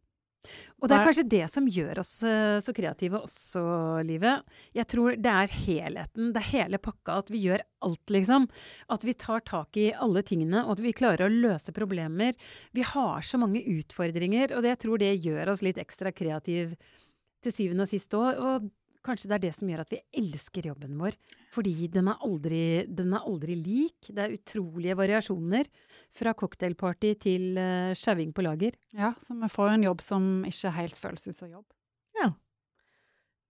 B: Og det er
A: Hva er-
B: kanskje det som gjør oss eh, så kreative også, livet. Jeg tror det er helheten, det er hele pakka, at vi gjør alt, liksom. At vi tar tak i alle tingene, og at vi klarer å løse problemer. Vi har så mange utfordringer, og det, jeg tror det gjør oss litt ekstra kreativ til syvende og sist òg. Og kanskje det er det som gjør at vi elsker jobben vår. Fordi den er aldri, den er aldri lik. Det er utrolige variasjoner. Fra cocktailparty til eh, sjauing på lager.
C: Ja, så vi får jo en jobb som ikke helt føles ut som jobb.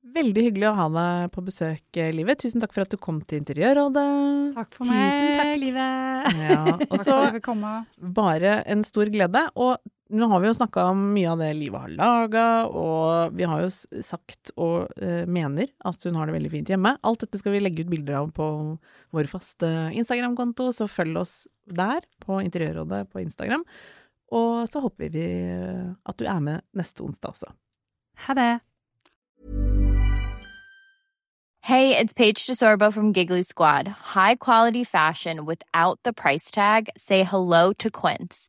A: Veldig hyggelig å ha deg på besøk, eh, Livet. Tusen takk for at du kom til Interiørrådet.
C: Takk for meg.
B: Tusen takk, livet!
A: Ja, og
C: Takk for at
A: så
C: jeg fikk komme.
A: bare en stor glede. Og nå har vi jo snakka om mye av det Livet har laga, og vi har jo s- sagt og eh, mener at hun har det veldig fint hjemme. Alt dette skal vi legge ut bilder av på vår faste Instagram-konto, så følg oss der på Interiørrådet på Instagram. Og så håper vi eh, at du er med neste onsdag også.
B: Ha det!
F: Hey, it's Paige DeSorbo from Giggly Squad. High quality fashion without the price tag. Say hello to Quince.